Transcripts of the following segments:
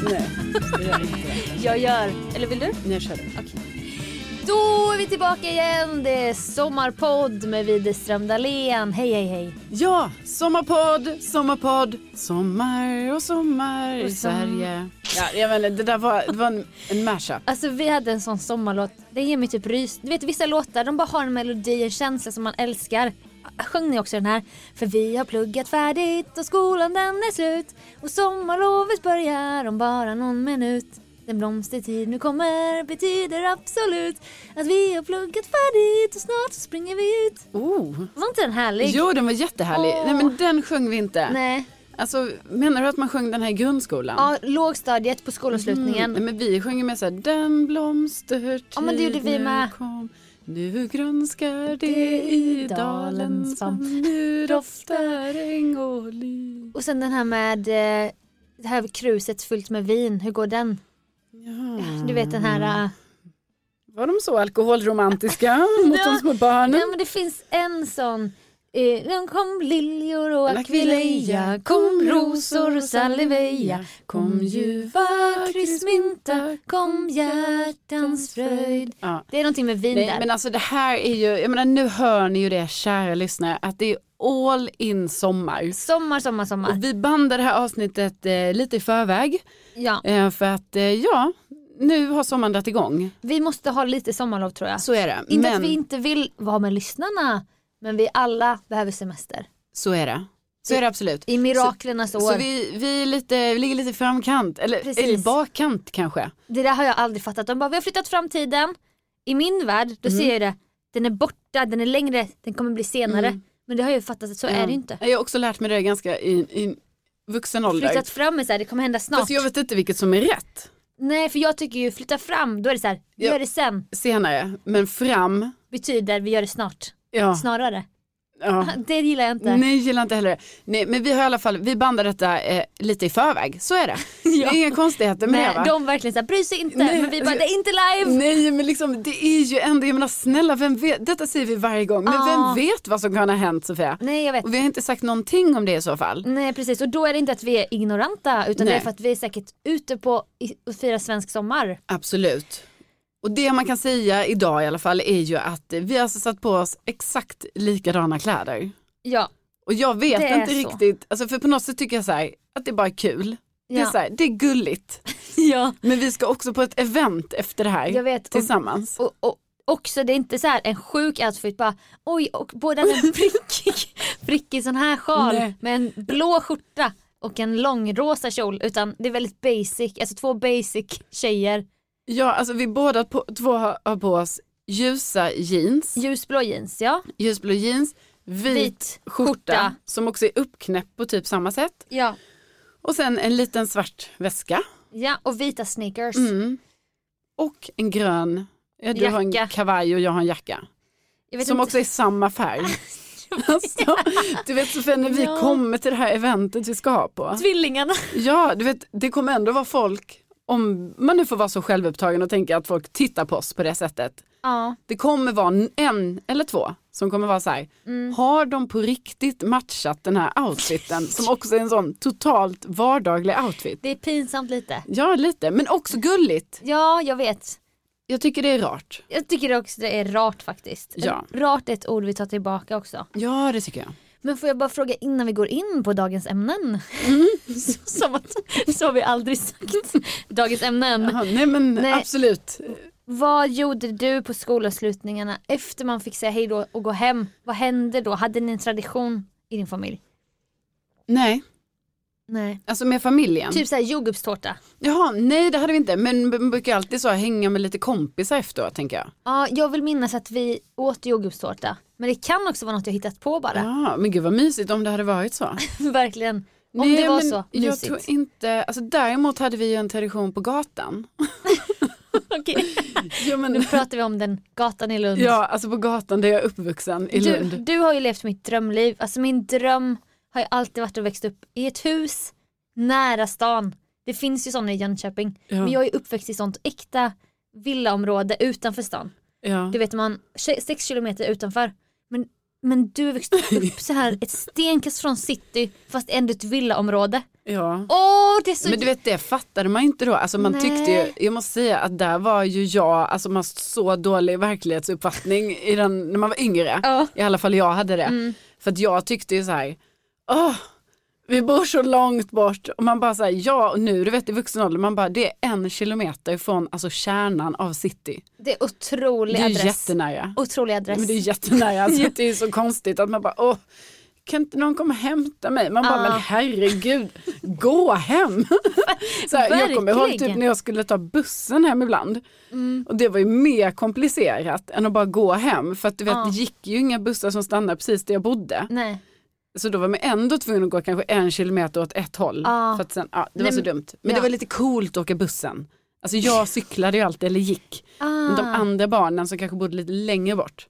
Det gör vi inte. Jag gör, eller vill du? Nu kör vi. Då är vi tillbaka igen. Det är Sommarpodd med Widerström Dahlén. Hej, hej, hej. Ja, sommarpodd, sommarpodd, sommar och sommar i Och som- Sverige. Ja, jag vet inte, det där var, det var en, en mashup. Alltså vi hade en sån sommarlåt. Det ger mig typ rys. Du vet vissa låtar, de bara har en melodi, en känsla som man älskar. Sjöng ni också den här? För vi har pluggat färdigt och skolan den är slut. Och sommarlovet börjar om bara någon minut. Den blomstertid nu kommer betyder absolut att vi har pluggat färdigt och snart så springer vi ut. Oh. Var inte den härlig? Jo, den var jättehärlig. Åh. Nej, men den sjöng vi inte. Nej. Alltså, menar du att man sjöng den här i grundskolan? Ja, lågstadiet på skolavslutningen. Mm, nej, men vi sjöng ju med såhär, den blomstertid Ja, men det gjorde vi nu med. kom. Nu grönskar det i dalen som nu doftar äng och liv. Och sen den här med eh, det här kruset fullt med vin. Hur går den? Du vet den här. eh, Var de så alkoholromantiska mot de små barnen? Nej men det finns en sån. eh, Nu kom liljor och akvileja, Aquileia, kom rosor och saliveia, kom ljuva kryssmynta, kom hjärtans fröjd. Ja. Det är någonting med vin Nej, där. men alltså det här är ju, jag menar nu hör ni ju det kära lyssnare att det är all in sommar. Sommar, sommar, sommar. Och vi bandar det här avsnittet eh, lite i förväg Ja, eh, för att eh, ja, nu har sommaren dragit igång. vi måste ha lite sommarlov tror jag. Så är det. Inte men att vi inte vill vara med lyssnarna, men vi alla behöver semester. så är det. Så är det absolut. I miraklernas år. Så vi, vi, är lite, vi ligger lite i framkant, eller, Precis. eller i bakkant kanske. Det där har jag aldrig fattat. De bara, vi har flyttat fram tiden. I min värld, då Mm. ser jag det. Den är borta, den är längre, den kommer bli senare. Mm. Men det har jag ju fattat att så är det ju inte. Jag har också lärt mig det ganska i, i vuxen ålder. Flyttat fram är så här, det kommer hända snart. Fast jag vet inte vilket som är rätt Nej för jag tycker ju flytta fram, då är det så här, vi Ja. gör det sen. senare, men fram, Betyder vi gör det snart. ja. Snarare. ja. Det gillar jag inte. Nej, gillar inte heller det. Nej, men vi har i alla fall, vi bandar detta eh, lite i förväg, så är det. Ja. Det är inga konstigheter med Nej, det va? de verkligen så här, bryr sig inte. Nej, alltså- men vi bara, det är inte live. Nej men liksom det är ju ändå, jag menar snälla vem vet, detta säger vi varje gång, men Ja. vem vet vad som kan ha hänt Sofia? Nej jag vet. Och vi har inte sagt någonting om det i så fall. Nej precis och då är det inte att vi är ignoranta utan det Nej. är för att vi är säkert ute på i- och firar svensk sommar. Absolut. Och det man kan säga idag i alla fall är ju att eh, vi har alltså satt på oss exakt likadana kläder. Ja. Och jag vet Det är inte så. riktigt, alltså för på något sätt tycker jag så här, att det bara är kul. Det, är Ja. så här, det är gulligt. ja. Men vi ska också på ett event efter det här Jag vet. Och, tillsammans. och, och också det är inte så här en sjuk outfit bara oj och både en prickig, prickig sån här sjal Nej. med en blå skjorta och en långrosa kjol utan det är väldigt basic, alltså två basic tjejer, Ja, alltså vi båda på, två har, har på oss ljusa jeans, ljusblå jeans ja, ljusblå jeans, vit, vit skjorta, skjorta. som också är uppknäppt på typ samma sätt. Ja. Och sen en liten svart väska ja och vita sneakers. mm. och en grön, ja, du har en Jacka. kavaj och jag har en jacka. Jag vet Som inte- också är samma färg. alltså, du vet Sofia, när vi Ja. kommer till det här eventet vi ska ha på. Tvillingarna. Ja, du vet, det kommer ändå vara folk, om man nu får vara så självupptagen och tänka att folk tittar på oss på det sättet. Ja. Det kommer vara en eller två som kommer vara så här, Mm. har de på riktigt matchat den här outfiten som också är en sån totalt vardaglig outfit? Det är pinsamt lite. Ja, lite, men också gulligt. Ja, jag vet. Jag tycker det är rart. Jag tycker också det är rart faktiskt. Ja. Rart är ett ord vi tar tillbaka också. Ja, det tycker jag. Men får jag bara fråga innan vi går in på dagens ämnen? Mm. så, som att, så har vi aldrig sagt. Dagens ämnen. Jaha, nej, men Nej. absolut. Vad gjorde du på skolavslutningarna efter man fick säga hej då och gå hem? Vad hände då? Hade ni en tradition i din familj? Nej, Nej. alltså med familjen. Typ såhär jordgubbstårta. Jaha, nej det hade vi inte, men man brukar alltid så här hänga med lite kompisar efteråt tänker jag. Ja, jag vill minnas att vi åt jordgubbstårta. Men det kan också vara något jag hittat på bara. Ja, men gud vad mysigt om det hade varit så. Verkligen. Om Nej, det var men så Jag mysigt. tror inte, alltså däremot hade vi ju en tradition på gatan. Okej. Ja, men, Nu pratar vi om den gatan i Lund. ja alltså på gatan där jag är uppvuxen i du, Lund. du har ju levt mitt drömliv. Alltså min dröm har ju alltid varit att växa upp i ett hus nära stan. Det finns ju sådana i Jönköping. Ja. Men jag är ju uppväxt i sånt äkta villaområde utanför stan. Ja. Du vet man, tje- sex kilometer utanför. Men men du växte upp så här ett stenkast från city fast ändå ett villaområde. Alltså, Ja. Åh det är så... Men du vet det fattade man ju inte då. Alltså man Nej. tyckte ju, jag måste säga att där var ju jag, alltså man har så dålig verklighetsuppfattning i den, när man var yngre. Ja. I alla fall jag hade det. För att jag tyckte ju så här, åh, vi bor så långt bort. Och man bara så här, ja och nu du vet i vuxen ålder, man bara det är en kilometer från alltså kärnan av city. Det är otrolig Det är ju adress. jättenära. Otrolig adress. Men det är jättenära, alltså, det är så konstigt att man bara, åh, kan inte någon komma och hämta mig? Man bara, Ja. men herregud, gå hem. så här, jag kommer ihåg typ Verkligen. Mm. när jag skulle ta bussen hem ibland. Och det var ju mer komplicerat än att bara gå hem. För att du vet, Ja. det gick ju inga bussar som stannade precis där jag bodde. Nej. Så då var man ändå tvungen att gå kanske en kilometer åt ett håll. Ja. För att sen, ja, det var Nej, så men- dumt. Men det ja. var lite coolt att åka bussen. Alltså jag cyklade ju alltid, eller gick. Men de Ah. Mm. andra barnen som kanske bodde lite längre bort,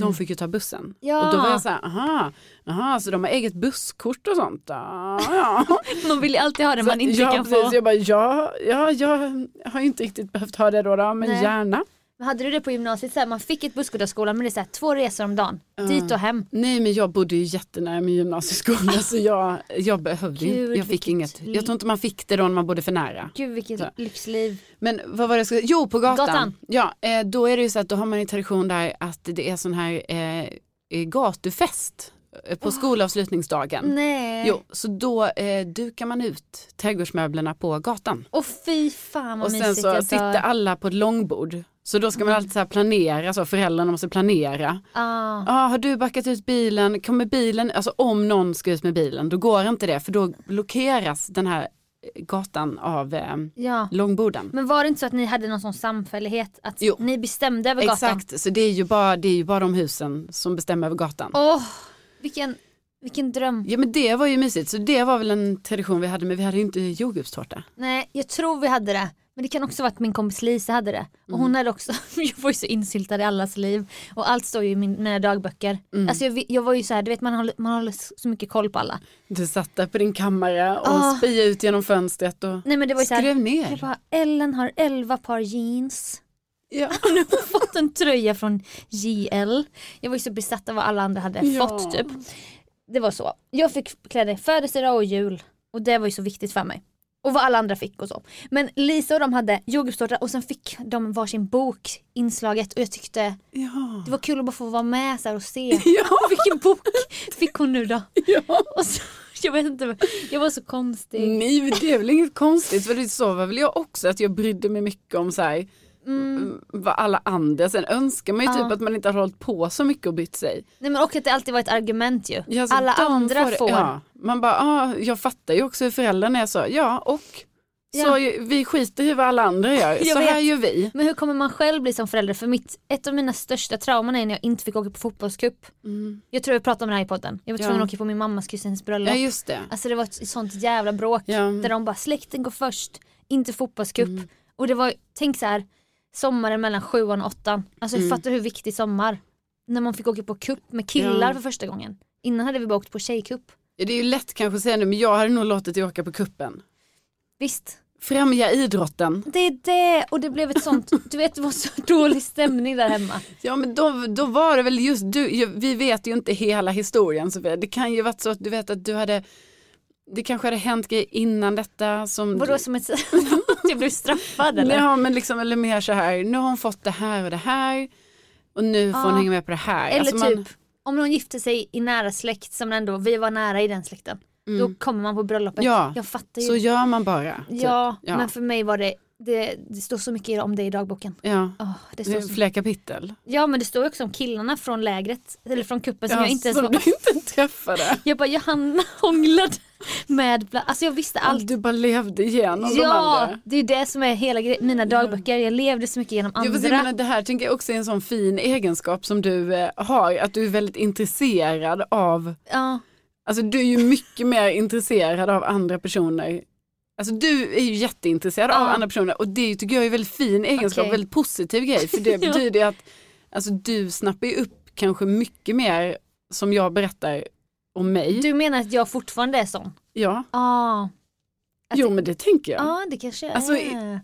de fick ju ta bussen. Ja. Och då var jag så här, aha, aha, så de har eget busskort och sånt. Ah, ja. Man vill ju alltid ha det man inte ja, kan precis. få. Jag bara, ja, ja, jag har ju inte riktigt behövt ha det då, då men Nej. gärna. Men hade du det på gymnasiet, så här, man fick ett busskort av skolan men det är så här, två resor om dagen. Dit och hem. Nej men jag bodde ju jättenära min gymnasieskola så jag, jag behövde ju Gud, inte, jag fick vilket inget. Jag tror inte man fick det då när man bodde för nära. Gud vilket Så. lyxliv. Men vad var det jag skulle Jo, på gatan. Gatan. Ja, eh, då är det ju så att då har man en tradition där att det är sån här eh, eh, gatufest eh, Ah. på skolavslutningsdagen. Mm. Nej. Jo, så då eh, dukar man ut trädgårdsmöblerna på gatan. Och fy fan vad och sen mysigt. Mm. så alltså. sitter alla på ett långbord. Så då ska man alltid så här planera, så föräldrarna måste planera. ah. Ah, har du backat ut bilen, kommer bilen, alltså om någon ska ut med bilen, då går inte det för då blockeras den här eh, gatan av eh, Ja. långborden. Men var det inte så att ni hade någon sån samfällighet? Att Jo. ni bestämde över gatan? Exakt, så det är, ju bara, det är ju bara de husen som bestämmer över gatan. Åh, vilken, vilken dröm. Ja men det var ju mysigt, så det var väl en tradition vi hade, men vi hade ju inte jordgubbstårta. Nej, jag tror vi hade det. Men det kan också vara att min kompis Lisa hade det. Och Mm. hon hade också, jag var ju så insyltad i allas liv. Och allt står ju i min, mina dagböcker. Mm. Alltså jag, vi- jag var ju så här, du vet man håller, man håller så mycket koll på alla. Du satt där på din kammare och Ah. spia ut genom fönstret och Nej men det var ju så här, skrev ner. jag bara, Ellen har 11 par jeans. Ja. Nu har hon fått en tröja från JL. Jag var ju så besatt av vad alla andra hade Ja. fått typ. Det var så. Jag fick kläder i födelsedag och jul. Och det var ju så viktigt för mig. Och vad alla andra fick och så. Men Lisa och de hade jordgubbstårta och sen fick de varsin bok inslaget och jag tyckte Ja. det var kul att bara få vara med så här och se. Ja. Vilken bok fick hon nu då? ja. Och så, jag vet inte, jag var så konstig. Nej men det är väl inget konstigt för det så var väl jag också att jag brydde mig mycket om så här, mm, vad alla andra, sen önskar man ju typ Ja. att man inte har hållit på så mycket och bytt sig. Nej men och att det alltid var ett argument ju. Ja, så alla de andra det- får. Ja, man bara, ah, jag fattar ju också hur föräldrarna är så, ja och så Ja. ju, vi skiter i vad alla andra gör, Jag så här vet. gör vi. Men hur kommer man själv bli som förälder? För mitt, ett av mina största trauman är när jag inte fick åka på fotbollscup. Mm. Jag tror jag pratade om det här i podden. Jag var Ja. tvungen att åka på min mammas kusins bröllop. Ja just det. Alltså det var ett sånt jävla bråk Ja. Mm. där de bara släkten går först, inte fotbollscup. Och det var, tänk så här, sommaren mellan sjuan och åttan. Alltså Mm. jag fattar hur viktig sommar. När man fick åka på cup med killar Ja. för första gången. Innan hade vi bara åkt på tjejcup. Ja, Det är ju lätt kanske att säga nu, men jag hade nog låtit dig åka på kuppen. Visst, Främja idrotten. det är det och det blev ett sånt, du vet det var så dålig stämning där hemma. Ja men då, då var det väl just du, ju- vi vet ju inte hela historien Sofia. Det kan ju varit så att du vet att du hade, det kanske hade hänt grejer innan detta som... Vadå som ett, att jag blev straffad eller? Mm. Ja men liksom, eller mer så här, nu har hon fått det här och det här och nu får Ja. hon hänga med på det här. Eller Alltså, man- typ om någon gifte sig i nära släkt som ändå, vi var nära i den släkten. Då kommer man på bröllopet. Mm. Ja, Jag fattar ju. Så gör man bara. typ. ja, ja. men för mig var det, det, det står så mycket om det i dagboken. ja. Åh, det Det står Alltså, så, är Alltså, flera kapitel. ja men det står ju också om killarna från lägret, eller från kuppen som ja, jag inte ens som var du inte träffade. Jag bara Johanna hånglade med, bland, alltså jag visste allt. Allt. Du bara levde igenom de Ja, andra. det är det som är hela gre- mina dagböcker, jag levde så mycket genom Jag andra. vill säga, men det här tänker jag också är en sån fin egenskap som du eh, har, att du är väldigt intresserad av, ja. alltså du är ju mycket mer intresserad av andra personer. Alltså du är ju jätteintresserad av Ja. andra personer och det tycker jag är en väldigt fin egenskap, Okej. väldigt positiv grej, för det Ja. betyder ju att alltså, du snappar ju upp kanske mycket mer som jag berättar om mig. Du menar att jag fortfarande är sån? Ja, Ja, att jo men det tänker jag. ja det kanske jag Alltså, i- är.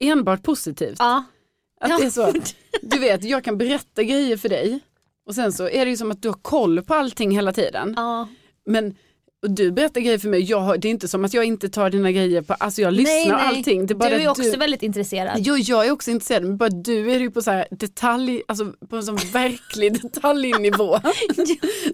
Enbart positivt. Ja. Att Ja. det är så. Du vet, jag kan berätta grejer för dig Och sen så är det ju som att du har koll på allting hela tiden. Ja. Men och du berättar grejer för mig, jag, har- det är inte som att jag inte tar dina grejer på, alltså jag lyssnar nej, nej. allting. Det är bara du är att också väldigt intresserad. Jo, jag är också intresserad, men bara du är ju på så här detalj, alltså på en sån verklig detaljnivå.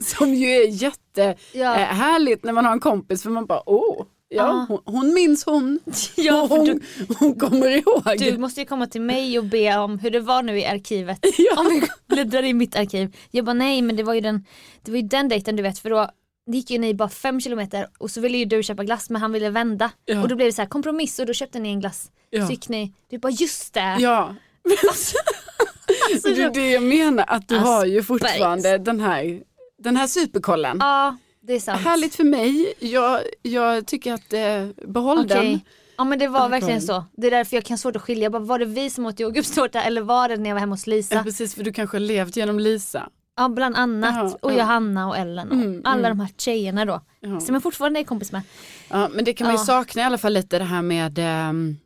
som ju är jättehärligt Ja. eh, härligt när man har en kompis för man bara, åh, ja, Ja. hon, hon minns hon. Ja, för hon, du- hon kommer ihåg. Du måste ju komma till mig och be om hur det var nu i arkivet. Ja. Om vi bläddrar i mitt arkiv. Jag bara nej men det var ju den, det var ju den dejten du vet för då gick ju ni bara fem kilometer och så ville ju du köpa glass men han ville vända. Ja. Och då blev det så här kompromiss och då köpte ni en glass. Ja. Så gick ni, du bara just det. Ja, Alltså, det är jag- det jag menar, att du Aspergers. har ju fortfarande den här, den här superkollen. ja det är sant. Härligt för mig, jag, jag tycker att eh, behåll den. Okej. Ja men det var verkligen Välkommen. så. Det är därför jag kan ha svårt att skilja. Jag Bara, var det vi som åt jordgubbstårta eller var det när jag var hemma hos Lisa? Ja, precis, för du kanske har levt genom Lisa. Ja bland annat. Ja, och ja. Johanna och Ellen och Mm, alla mm. de här tjejerna då. Ja. Som jag fortfarande är kompis med. Ja, men det kan man ju Ja. sakna i alla fall lite det här med ehm,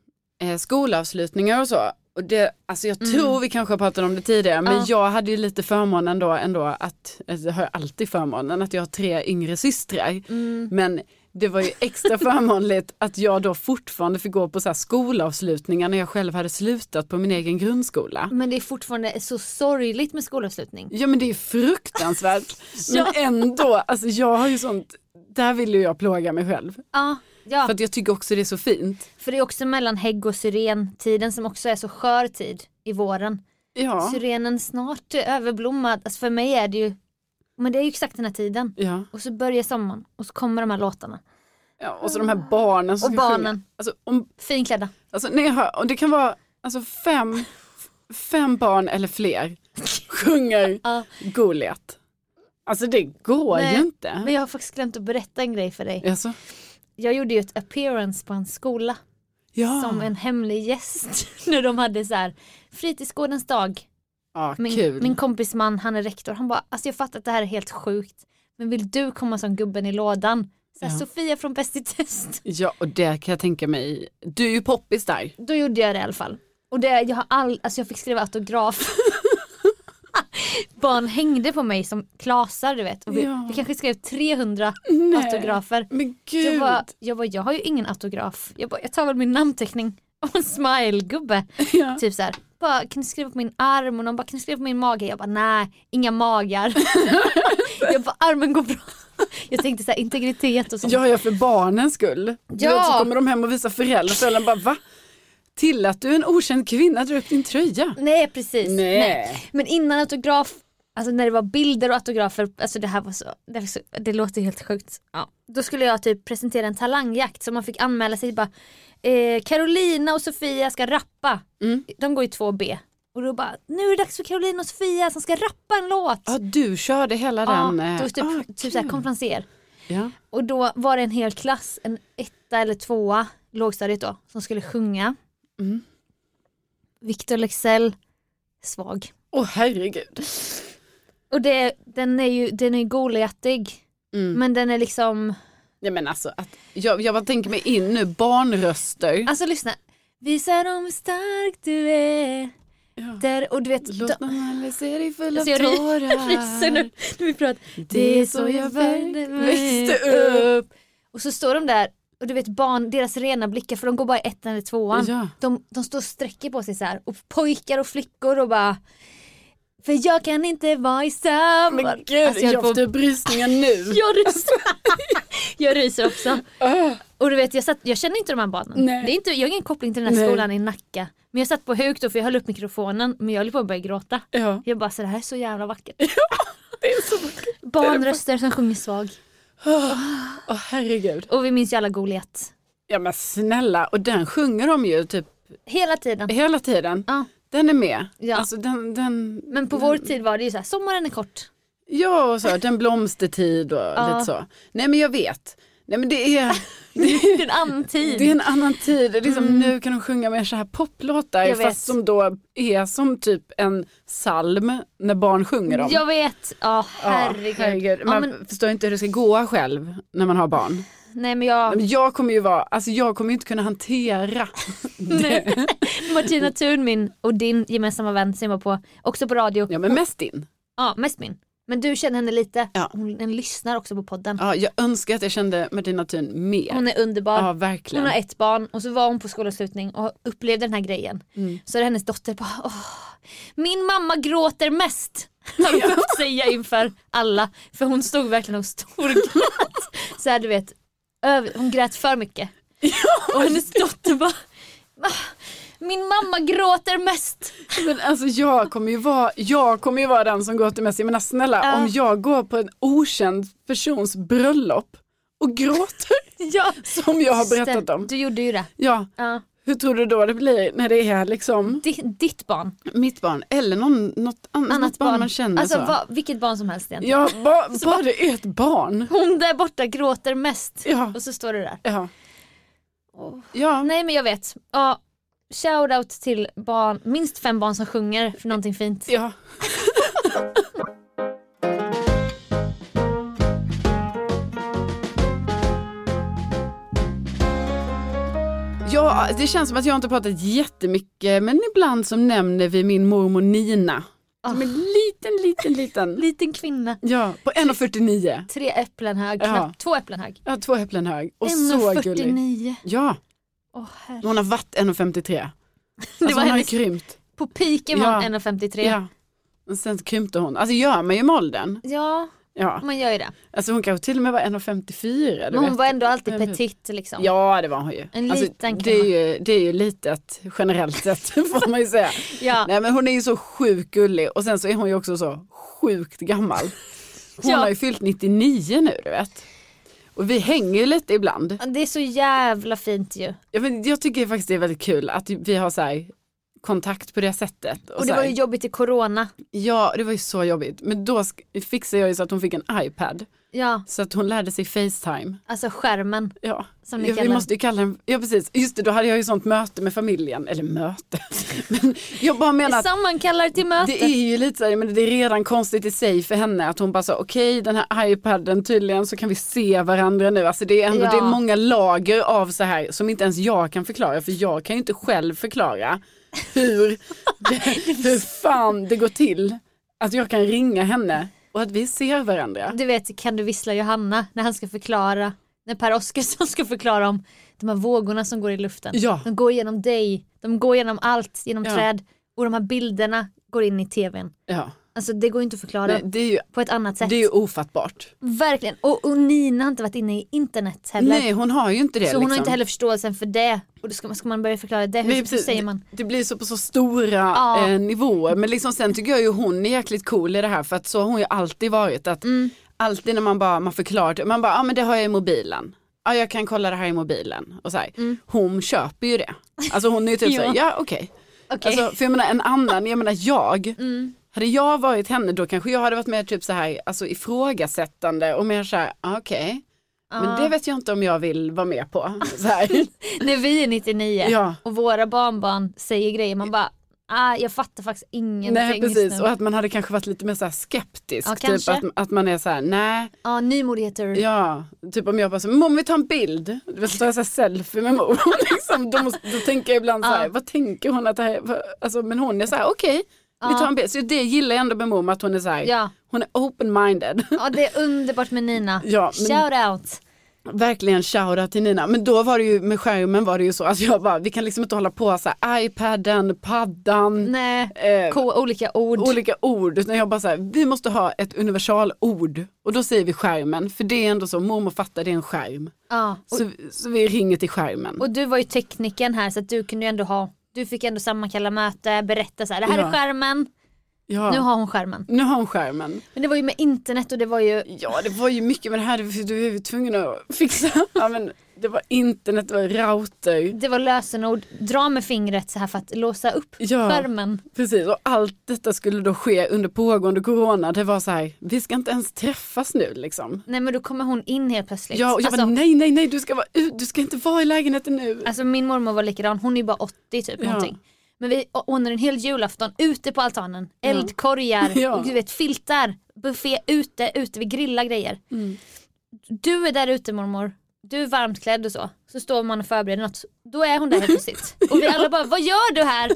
eh, skolavslutningar och så. Och det, alltså jag tror vi kanske har pratat om det tidigare men Mm. Ja. jag hade ju lite förmånen då ändå att, alltså jag har ju alltid förmånen att jag har tre yngre Mm. systrar. Men det var ju extra förmånligt att jag då fortfarande fick gå på så här skolavslutningar när jag själv hade slutat på min egen grundskola. Men det är fortfarande så sorgligt med skolavslutning. Ja men det är fruktansvärt. Ja. Men ändå, alltså jag har ju sånt, där vill ju jag plåga mig själv. Ja, ja. För att jag tycker också det är så fint. för det är också mellan hägg och syrentiden som också är så skör tid i våren. Ja. Syrenen snart är överblommad. Alltså för mig är det ju, men det är ju exakt den här tiden. Ja. Och så börjar sommaren och så kommer de här låtarna. ja, och så de här barnen som Och ska sjunga. barnen. Alltså, om, Finklädda. alltså, när jag hör, och det kan vara alltså, fem, f- fem barn eller fler sjunger Ja. Goliat. Alltså det går Nej, ju inte. Men jag har faktiskt glömt att berätta en grej för dig. Alltså, Jag gjorde ju ett appearance på en skola ja, som en hemlig gäst när de hade så här fritidsgårdens dag. ja Min, kul. min kompis man, han är rektor, han bara alltså jag fattar att det här är helt sjukt men vill du komma som gubben i lådan? Så här, Ja. Sofia från Bäst i test. Ja, och det kan jag tänka mig. Du är ju poppis där. Då gjorde jag det i alla fall. Och det, jag, har all, alltså jag fick skriva autograf. Barn hängde på mig som klasar du vet. Och vi, Ja. vi kanske skrev 300 Nej. autografer. Men Jag gud. bara, jag bara, jag har ju ingen autograf. Jag bara, jag tar väl min namnteckning och en smile-gubbe. Ja. Typ så här, bara, kan du skriva på min arm? Och någon bara, kan du skriva på min mage? Jag bara, nej, inga magar. jag bara, armen går bra. Jag tänkte så här, integritet och sånt. Ja, ja, för barnens skull. Ja. Ja. Så kommer de hem och visar föräldrar och föräldrarna bara va? Tillät du en okänd kvinna dra upp din tröja? Nej, precis. Nej. Men innan autograf, alltså när det var bilder och autografer, alltså det här var så, det, var så, det låter helt sjukt. Ja. Då skulle jag typ presentera en talangjakt så man fick anmäla sig bara, eh, Carolina och Sofia ska rappa. Mm. De går i 2B. Och då bara, nu är det dags för Carolina och Sofia som ska rappa en låt. Ja, du körde hela Ja, den. eh, då typ, ah, typ såhär kul. konferenser. Ja. Och då var det en hel klass, en etta eller tvåa, lågstadiet då, som skulle sjunga. Mm. Victor Lexell, svag. Åh herregud. Och det, den är ju den är ju goliatig, Mm. men den är liksom, Nej, men alltså, att, jag, jag bara tänker mig in nu, barnröster. alltså lyssna. Visa dem hur stark du är. Ja. Där, och du vet, de, Låt någon aldrig se dig full av Alltså, jag ry- tårar. ryser nu när vi pratar. Det är så jag väl- växte upp. Och så står de där och du vet barn, deras rena blickar för de går bara i ettan eller tvåan. Ja. De, de står och sträcker på sig så här och pojkar och flickor och bara för jag kan inte vara i samma... Men gud, Alltså, jag, höll på- får brysningar nu. jag ryser. jag ryser också. Ah, Och du vet jag, satt, jag känner inte de här barnen. Nej. Det är inte, jag har ingen koppling till den här Nej. skolan i Nacka. Men jag satt på huk då för jag höll upp mikrofonen men jag höll på att börja gråta. ja. Jag bara så det här är så jävla vackert. Det är så vackert. Barnröster som sjunger svag. Ah, Åh herregud. Och vi minns ju alla Goliat. Ja men snälla, och den sjunger de ju typ Hela tiden. hela tiden. Ja. Den är med. Ja. Alltså den, den, Men på vår tid var det ju så här, sommaren är kort. Ja, och så, den blomstertid och lite så. Nej men jag vet. Nej men det är, Det är en annan tid. det är en annan tid. Det är Liksom, Nu kan de sjunga mer så här poplåtar Mm. Jag vet. fast som då är som typ en psalm när barn sjunger dem. Jag vet, ja Ja, herregud. herregud. Ja, Man men, förstår inte hur det ska gå själv när man har barn. nej men jag, Men jag kommer ju vara, alltså jag kommer ju inte kunna hantera. Martina Thun min och din gemensamma vän som jag var på, också på radio. Ja men mest din. Ja, mest min. Men du känner henne lite. Ja. Hon, hon lyssnar också på podden. Ja, jag önskar att jag kände Martina Thun mer. Hon är underbar. ja, verkligen. Hon har ett barn och så var hon på skolavslutning och upplevde den här grejen. Mm. Så är det hennes dotter bara Åh, min mamma gråter mest. Har hon fått säga inför alla. För hon stod verkligen och storgrät. så här, du vet, över, hon grät för mycket. och hennes dotter bara "Ah, min mamma gråter mest. Men alltså jag kommer ju vara, jag kommer ju vara den som gråter mest. Jag menar alltså, snälla, Ja. om jag går på en okänd persons bröllop och gråter Ja. som jag har berättat om. Du gjorde ju det. Ja, Ja. hur tror du då det blir när det är liksom Di, ditt barn. mitt barn eller någon, något annat, Annat något barn, man känner alltså, så. va, vilket barn som helst egentligen. Ja, ba, bara det är ett barn. Hon där borta gråter mest. Ja, Och så står du där. ja, ja. Nej men jag vet. Ja, shoutout till barn, minst fem barn som sjunger för någonting fint. ja. Ja, det känns som att jag inte pratat jättemycket men ibland så nämner vi min mormor Nina. Som Ah. en liten, liten, liten. Liten kvinna. Ja, på 1,49. Tre äpplen hög, Ja. knappt två äpplen hög. Ja, två äpplen hög. Och så gullig. 1,49. Ja, Åh herre. hon har varit 1,53. Alltså Det var hon har ju hennes, krympt. på piken var hon Ja. 1,53. Ja. Ja. Men sen krympte hon. Alltså gör man ju med åldern. Ja. man gör ju det. Alltså hon kanske till och med var 1,54. du Men hon vet. var ändå alltid Jag vet. petit liksom. Ja det var hon ju. Alltså, En liten det, är ju det är ju litet generellt sett får man ju säga. Ja. Nej men hon är ju så sjukt gullig och sen så är hon ju också så sjukt gammal. Hon Ja. har ju fyllt 99 nu du vet. Och vi hänger ju lite ibland. Det är så jävla fint ju. Jag, men, jag tycker faktiskt det är väldigt kul att vi har så här, kontakt på det sättet. Och så det var här- ju jobbigt i corona. Ja det var ju så jobbigt. Men då sk- fixade jag ju så att hon fick en iPad. Ja, Så att hon lärde sig Facetime. alltså skärmen. Ja, Som ni ja vi kallar måste ju kalla den, ja precis, just det då hade jag ju sånt möte med familjen, eller möte, men jag bara menar att Som man kallar det till möte. det är ju lite så här, men det är redan konstigt i sig för henne att hon bara sa okej den här iPaden tydligen så kan vi se varandra nu, alltså det är ändå Ja. det är många lager av så här som inte ens jag kan förklara för jag kan ju inte själv förklara hur, det, hur fan det går till att jag kan ringa henne och att vi ser varandra. Du vet, kan du vissla Johanna när han ska förklara, när Per Oskarsson ska förklara om de här vågorna som går i luften. Ja. De går genom dig, de går genom allt, genom Ja. träd och de här bilderna går in i tvn. Ja. Alltså det går ju inte att förklara Nej, det är ju, på ett annat sätt. det är ju ofattbart. Verkligen. Och, och Nina har inte varit inne i internet heller. Nej hon har ju inte det. så hon har liksom. inte heller förståelsen för det. Och då ska man, ska man börja förklara det, hur, Nej, hur precis. säger man? Det blir så på så stora Ja. eh, nivåer. Men liksom, sen tycker jag ju hon är jäkligt cool i det här för att så har hon ju alltid varit. Att Mm. Alltid när man bara man förklarar, det, man bara, ja ah, men det har jag i mobilen. Ja ah, jag kan kolla det här i mobilen. Och så här. Hon köper ju det. Alltså hon är ju typ Mm. Ja. såhär, ja Okej. okej. Mm. Alltså, för jag menar en annan, jag menar jag. Hade jag varit henne då kanske jag hade varit mer typ så här, alltså ifrågasättande och mer så här, ah, okej. Men det vet jag inte om jag vill vara med på. Så här. När vi är 99 Ja. och våra barnbarn säger grejer, man bara ah, jag fattar faktiskt ingenting Nej precis just nu. och att man hade kanske varit lite mer så här skeptisk. Ja, typ kanske. att, att man är så här, nej, Ja, nymodigheter. ja, typ om jag bara så, mom vi tar en bild, du vet, så tar jag så här selfie med mor. liksom, då, måste, då tänker jag ibland så här, Ja. vad tänker hon att det här är? Vad- Alltså, men hon är så här, okej, vi tar en bild. Så det gillar jag ändå med mom att hon är så här, Ja. hon är open-minded. Ja det är underbart med Nina. Ja, men- Shout out. Verkligen shoutout till Nina. Men då var det ju med skärmen var det ju så, alltså jag bara, vi kan liksom inte hålla på så här, iPaden, paddan. Nej, Eh, K, olika ord. olika ord. Utan jag bara så här, vi måste ha ett universalord och då säger vi skärmen. För det är ändå så, mormor fattar det är en skärm. ja. och, Så, så vi ringer till skärmen. och du var ju tekniken här så att du kunde ju ändå ha, du fick ändå sammankalla möte, berätta så här, det här Ja. är skärmen, ja. nu har hon skärmen. nu har hon skärmen. Men det var ju med internet och det var ju, Ja det var ju mycket med det här, för du är ju tvungen att fixa. Ja, men det var internet, det var router. det var lösenord, dra med fingret så här för att låsa upp Ja. skärmen. Precis och allt detta skulle då ske under pågående corona. Det var så här, vi ska inte ens träffas nu liksom. Nej men då kommer hon in helt plötsligt. Ja, och jag alltså, bara, nej nej nej du ska, vara ut, du ska inte vara i lägenheten nu. alltså min mormor var likadan, hon är ju bara 80 typ Ja. någonting. Men vi ordnade en hel julafton ute på altanen, eldkorgar, Ja. och du vet filtar, buffé ute, ute, vi grillar grejer. Mm. Du är där ute mormor, du är varmt klädd och så, så står man och förbereder något, då är hon där helt plötsligt. Och vi alla bara, vad gör du här?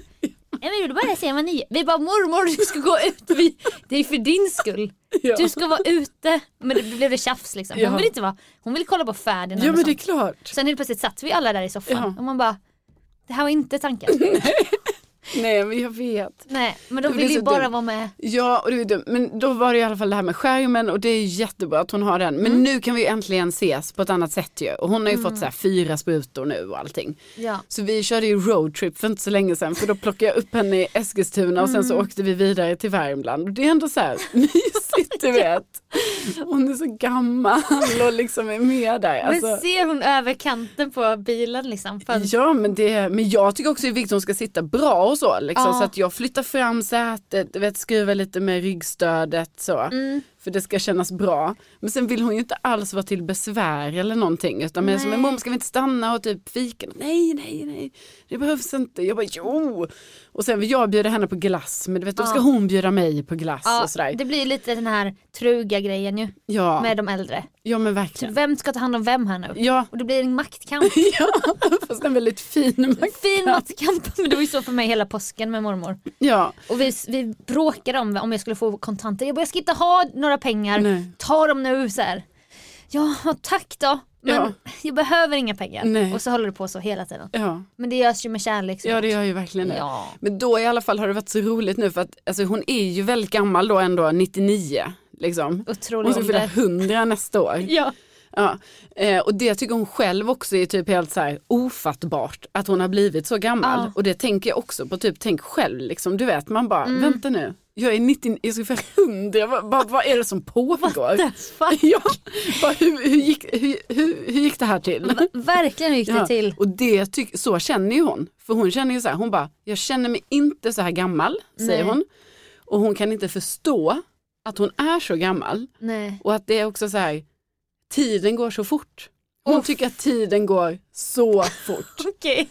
Nej, men vi vill bara se vad ni gör. Vi bara mormor du ska gå ut. Vi, det är för din skull. Ja. Du ska vara ute. Men det blev det tjafs liksom. Hon Ja. vill inte vara, hon vill kolla på Ferdinand ja och men det är sånt. klart. Sen helt plötsligt satt vi alla där i soffan Ja. och man bara det här var inte tanken. Nej men jag vet. Nej men de Det blir vill ju så bara dumt. vara med. Ja och det är dumt. Men då var det i alla fall det här med skärmen och det är jättebra att hon har den. Men nu kan vi ju äntligen ses på ett annat sätt ju. Och hon har ju fått så här fyra sprutor nu och allting. Ja. Så vi körde ju roadtrip för inte så länge sedan för då plockade jag upp henne i Eskilstuna och sen så åkte vi vidare till Värmland. Och det är ändå så här mysigt du vet. Hon är så gammal och liksom är med där. Alltså, Men ser hon över kanten på bilen liksom? Fönstret? ja men, det, men jag tycker också det är viktigt att hon ska sitta bra och så. Liksom, Ja. Så att jag flyttar fram sätet, du vet, skruvar lite med ryggstödet så. Mm. För det ska kännas bra. Men sen vill hon ju inte alls vara till besvär eller någonting. Utan men som Nej. men mom ska vi inte stanna och typ fika? Nej, nej, nej. Det behövs inte. Jag bara jo. Och sen vill jag bjuda henne på glass. Men du vet, då ska Ja. hon bjuda mig på glass Ja, och sådär. det blir ju lite den här truga grejen ju Ja. med de äldre. ja, men Typ, verkligen. vem ska ta hand om vem här nu? Ja, Och det blir en maktkamp. ja. fast en väldigt fin mack. Fin maktkamp. Men det var ju så för mig hela påsken med mormor. Ja, Och vi, vi bråkade om om jag skulle få kontanter. Jag bara, jag ska inte ha några pengar. Nej. Ta dem nu så här. Ja, tack då. Men Ja. jag behöver inga pengar. Nej. Och så håller det på så hela tiden. ja. Men det görs ju med kärlek. så. ja, det gör ju verkligen det. Ja. Men då i alla fall har det varit så roligt nu för att alltså, hon är ju väldigt gammal då ändå, 99. Liksom. Hon Otrolig ska fylla ålder. 100 nästa år. Ja. Ja, eh, och det tycker hon själv också är typ helt så här ofattbart att hon har blivit så gammal. Ja. Och det tänker jag också på, typ tänk själv liksom, du vet man Mm. bara, vänta nu, jag är 90, jag ska fylla 100, vad, vad, vad är det som pågår? Fuck. Ja, bara, hur, hur, gick, hur, hur, hur gick det här till? Verkligen hur gick det Ja, till. och det tyck, så känner ju hon, för hon känner ju så här, hon bara, jag känner mig inte så här gammal, säger Nej. hon. Och hon kan inte förstå att hon är så gammal. Nej. Och att det är också så här, tiden går så fort. Hon Uff. tycker att tiden går så fort. Okej.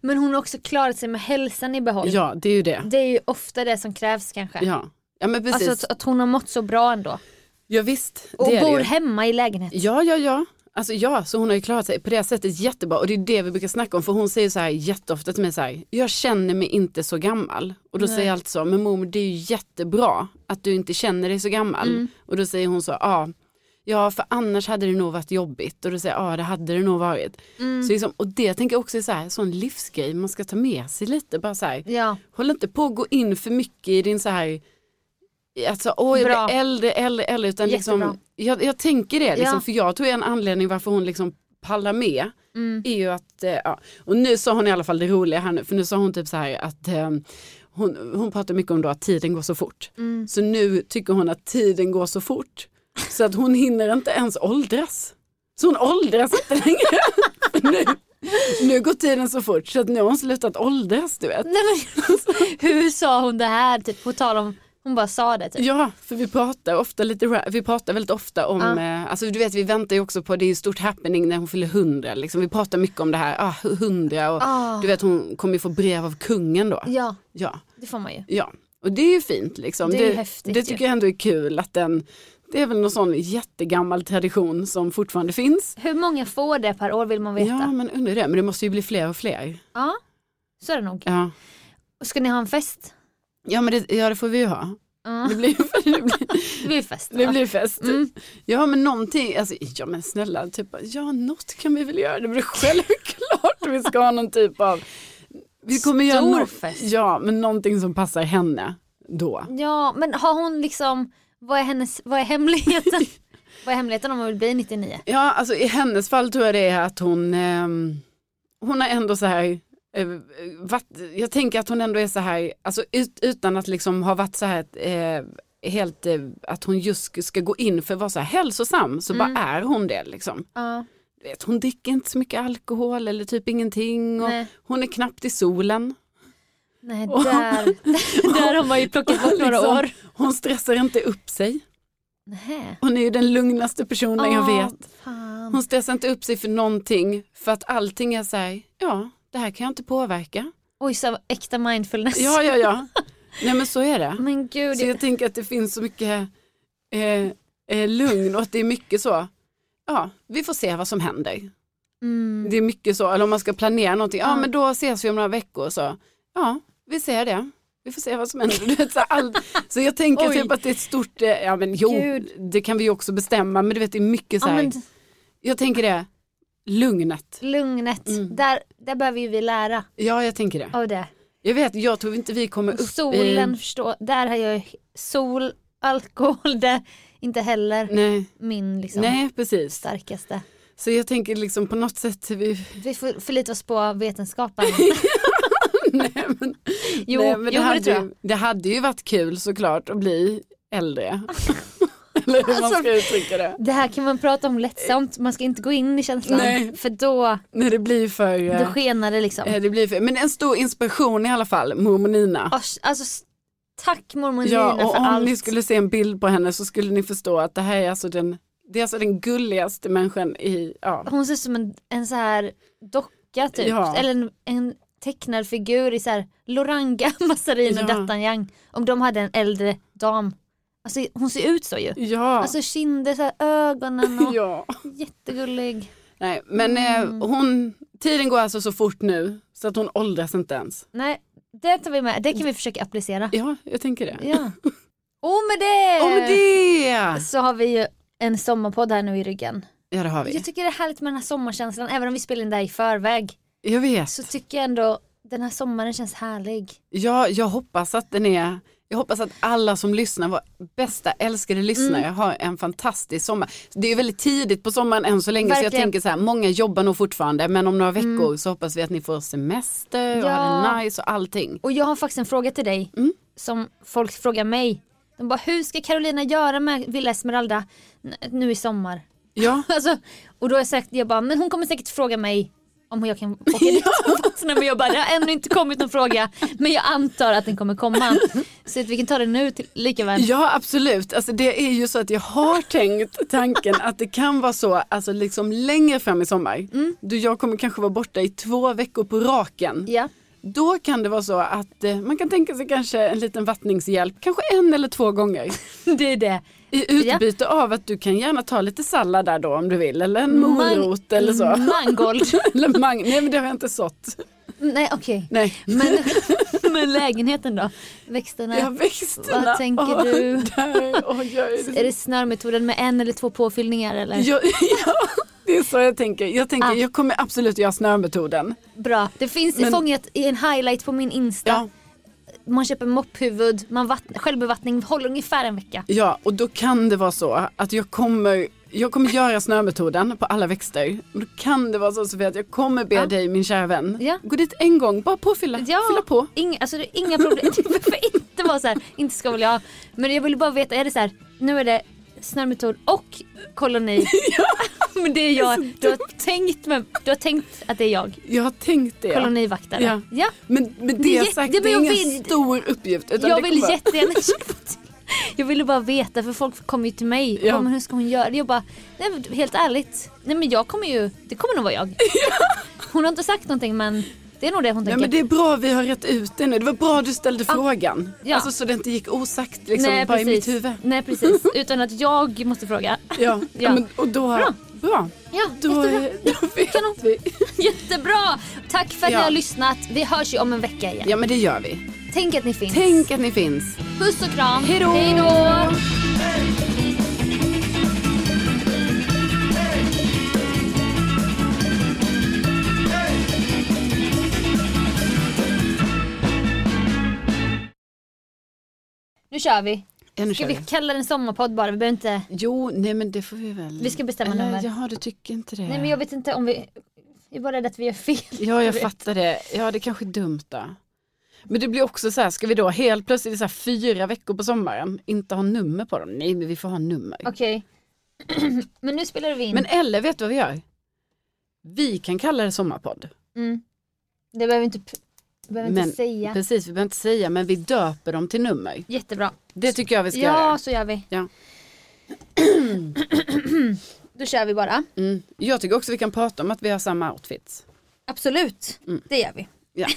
Men hon har också klarat sig med hälsan i behåll. Ja, det är ju det. Det är ju ofta det som krävs kanske. Ja, ja men precis. Alltså att, att hon har mått så bra ändå. ja, visst, Och det är bor det ju. hemma i lägenheten. Ja, ja, ja. Alltså ja, så hon har ju klarat sig på det sättet jättebra och det är det vi brukar snacka om för hon säger så här jätteofta till mig så här, jag känner mig inte så gammal. Och då Nej. säger jag alltid så, men mormor det är ju jättebra att du inte känner dig så gammal. Och då säger hon så, ja, ja för annars hade det nog varit jobbigt. Och då säger jag, ja det hade det nog varit. Så liksom, och det tänker jag också är så här, sån livsgrej man ska ta med sig lite, bara så här, Ja. Håll inte på att gå in för mycket i din så här, alltså åh jag Bra. blir äldre, äldre, äldre, utan Jättebra. liksom, jag, jag tänker det liksom, Ja. för jag tror en anledning varför hon liksom pallar med Mm. är ju att, eh, ja, och nu sa hon i alla fall det roliga här nu, för nu sa hon typ så här att eh, hon, hon pratar mycket om då att tiden går så fort. Mm. Så nu tycker hon att tiden går så fort så att hon hinner inte ens åldras. Så hon åldras inte längre. nu, nu går tiden så fort så att nu har hon slutat åldras du vet. Nej, men, hur sa hon det här? Typ, på tal om, hon bara sa det. Typ. Ja, för vi pratar ofta lite, ra- vi pratar väldigt ofta om, Ja. eh, alltså du vet vi väntar ju också på, det är ju stort happening när hon fyller 100, liksom. vi pratar mycket om det här, ah, 100 och Ah. du vet hon kommer ju få brev av kungen då. Ja, Ja, det får man ju. ja. och det är ju fint liksom. Det är ju häftigt det ju. tycker jag ändå är kul att den, det är väl någon sån jättegammal tradition som fortfarande finns. Hur många får det per år vill man veta? Ja Ja, men undrar det, men det måste ju bli fler och fler. så är det nog. Ja, Och Ska ni ha en fest? ja men det, ja, det får vi ju ha. Ja, Det blir ju det blir, det blir fest. Det va? blir fest. typ. Mm. Alltså, Ja men någonting, alltså, ja men snälla, typ, ja något kan vi väl göra, det blir självklart vi ska ha någon typ av vi kommer göra Stor nå- fest. Ja men någonting som passar henne då. Ja, men har hon liksom, vad är, hennes, vad är hemligheten? vad är hemligheten om hon vill bli 99? Ja alltså i hennes fall tror jag det är att hon, ehm, hon har ändå så här eh, varit, jag tänker att hon ändå är så här, alltså ut, utan att liksom ha varit så här eh, helt, eh, att hon just ska- ska gå in för att vara så här hälsosam, så bara är hon det liksom. Ja, Du vet, hon dricker inte så mycket alkohol eller typ ingenting. Och Nej. hon är knappt i solen. nej Och- där, där har man ju plockat bort några Liksom, år. Hon stressar inte upp sig. Nej. Hon är ju den lugnaste personen jag Ah, vet. Fan. Hon stressar inte upp sig för någonting. För att allting är så här, ja, det här kan jag inte påverka. Oj, så äkta mindfulness. Ja, ja, ja. Nej men så är det. Men gud, Så jag tänker att det finns så mycket eh, eh, lugn och att det är mycket så. Ja, vi får se vad som händer. mm, Det är mycket så, eller om man ska planera någonting, ja Ja. men då ses vi om några veckor så. Ja, vi ser det. Vi får se vad som händer. Du vet, så, här, all... så jag tänker Oj. typ att det är ett stort, eh, ja men jo, Gud. det kan vi ju också bestämma, men du vet det är mycket så Ja, här, men jag tänker det, lugnet. lugnet, Mm. där, där behöver ju vi lära Ja jag tänker det. av det. Jag vet, jag tror inte vi kommer Och upp solen, i... förstå, där har jag ju sol, alkohol, det är inte heller Nej, min liksom Mm. nej precis. starkaste. Så jag tänker liksom på något sätt, vi... Vi får förlita oss på vetenskapen. nej, men, Jo, nej, men jo men hade det tror jag. ju, det hade ju varit kul såklart att bli äldre. Eller hur man Alltså- ska uttrycka det. Det här kan man prata om lättsamt, man ska inte gå in i känslan Nej. för då, När det blir för... eh, då skenar det liksom. eh, Det blir för, men en stor inspiration i alla fall, mormor Nina. Ars- Alltså, s- tack mormor Nina Ja, och för om allt. ni skulle se en bild på henne så skulle ni förstå att det här är alltså den, det är alltså den gulligaste människan i, ja. Hon ser ut som en, en så här docka typ, Ja. eller en, en tecknad figur i så här Loranga, Massarin och Ja. Dattanjang. Om de hade en äldre dam. Alltså hon ser ut så ju. Ja, Alltså kinder, så här, ögonen och ja. jättegullig. Nej, men Mm. eh, hon, tiden går alltså så fort nu så att hon åldras inte ens. Nej, det tar vi med, det kan vi försöka applicera. Ja, jag tänker det. Ja. Och med det! Om det! så har vi ju en sommarpodd här nu i ryggen. Ja, det har vi. Jag tycker det är härligt med den här sommarkänslan, även om vi spelar in det här i förväg. Jag vet. Så tycker jag ändå den här sommaren känns härlig. Ja, jag hoppas att den är jag hoppas att alla som lyssnar, våra bästa älskade lyssnare, Mm. har en fantastisk sommar. Det är ju väldigt tidigt på sommaren än så länge så jag Verkligen. Mm. tänker så här, många jobbar nog fortfarande men om några veckor så hoppas vi att ni får semester och Ja. har det nice och allting. Och jag har faktiskt en fråga till dig Mm. som folk frågar mig. De bara, hur ska Carolina göra med Villa Esmeralda n- nu i sommar? Ja, Alltså, och då har jag sagt, jag bara, men hon kommer säkert fråga mig om hur jag kan åka dit och fastna. Men jag bara, det har ännu inte kommit någon fråga. Men jag antar att den kommer komma. Så att vi kan ta den nu till, lika väl. ja absolut. Alltså, det är ju så att jag har tänkt tanken att det kan vara så, alltså liksom längre fram i sommar, Mm. du, jag kommer kanske vara borta i två veckor på raken. Ja. Då kan det vara så att eh, man kan tänka sig kanske en liten vattningshjälp, kanske en eller två gånger. Det är det. I utbyte av att du kan gärna ta lite sallad där då om du vill eller en Mang- morot eller så. Mangold. eller mang- Nej men det har jag inte sått. Nej okej. Nej. Men, men lägenheten då? Växterna? Jag växterna. Vad tänker Åh, du? Där. Åh, jag är... Är det snörmetoden med en eller två påfyllningar eller? Jag, ja, det är så jag tänker. Jag tänker Ah. jag kommer absolut göra snömetoden. Bra. Det finns Men- fångat i en highlight på min Insta. Ja. Man köper mopphuvud, man vattn- självbevattning håller ungefär en vecka. ja och då kan det vara så att jag kommer jag kommer göra snömetoden på alla växter. Och Då kan det vara så Sofia att jag kommer be Ja. dig min kära vän. Ja. Gå dit en gång, bara påfylla. Ja. Fylla på. Inga, alltså, det är inga problem. Det behöver inte vara så här, inte ska väl jag. Men jag ville bara veta, är det så här, nu är det snörmetod och koloni. Men det är jag. Du har, tänkt med, du har tänkt att det är jag. Jag har tänkt det. Kolonivaktare. Ja. ja. Men med Det är det jätte- sagt, men det är jag ingen vill- stor uppgift. Utan Jag det vill kommer- jättegärna köpa till. Jag ville bara veta för folk kommer ju till mig. Ja. Ja. Men hur ska hon göra? Jag bara, nej, men helt ärligt. Nej men jag kommer ju, det kommer nog vara jag. Hon har inte sagt någonting men det är nog det hon Nej, tänker. men det är bra vi har rätt ut det nu. Det var bra du ställde frågan. Ja. Alltså, så det inte gick osagt liksom, nej, bara precis. i mitt huvud. Nej precis, utan att jag måste fråga. Ja. ja. men, och då, bra. Bra. bra. Ja, Då, jättebra. eh, då vet Kanon. vi. jättebra. Tack för att Ja. ni har lyssnat. Vi hörs ju om en vecka igen. Ja men det gör vi. Tänk att ni finns. Tänk att ni finns. Puss och kram. Hej då. Hej då. Nu kör vi. Ja, nu Ska kör vi vi. kalla den sommarpodd bara? Vi behöver inte... Jo, nej men det får vi väl. Vi ska bestämma Eller, nummer. Jaha, du tycker inte det. Nej men jag vet inte om vi... Jag är bara rädd att vi gör fel. Ja, jag vet. fattar det. Ja, det kanske är dumt då. Men det blir också så här, ska vi då helt plötsligt så här fyra veckor på sommaren inte ha nummer på dem? Nej, men vi får ha nummer. Okej. men nu spelar vi in. Men eller vet du vad vi gör? Vi kan kalla det sommarpodd. Mm. Det behöver vi inte, p- behöver Men- inte säga. Precis, vi behöver inte säga men vi döper dem till nummer. Jättebra. Det tycker jag vi ska Ja, göra. så gör vi. Ja. Då kör vi bara. Mm. Jag tycker också vi kan prata om att vi har samma outfits. Absolut, det gör vi. Ja.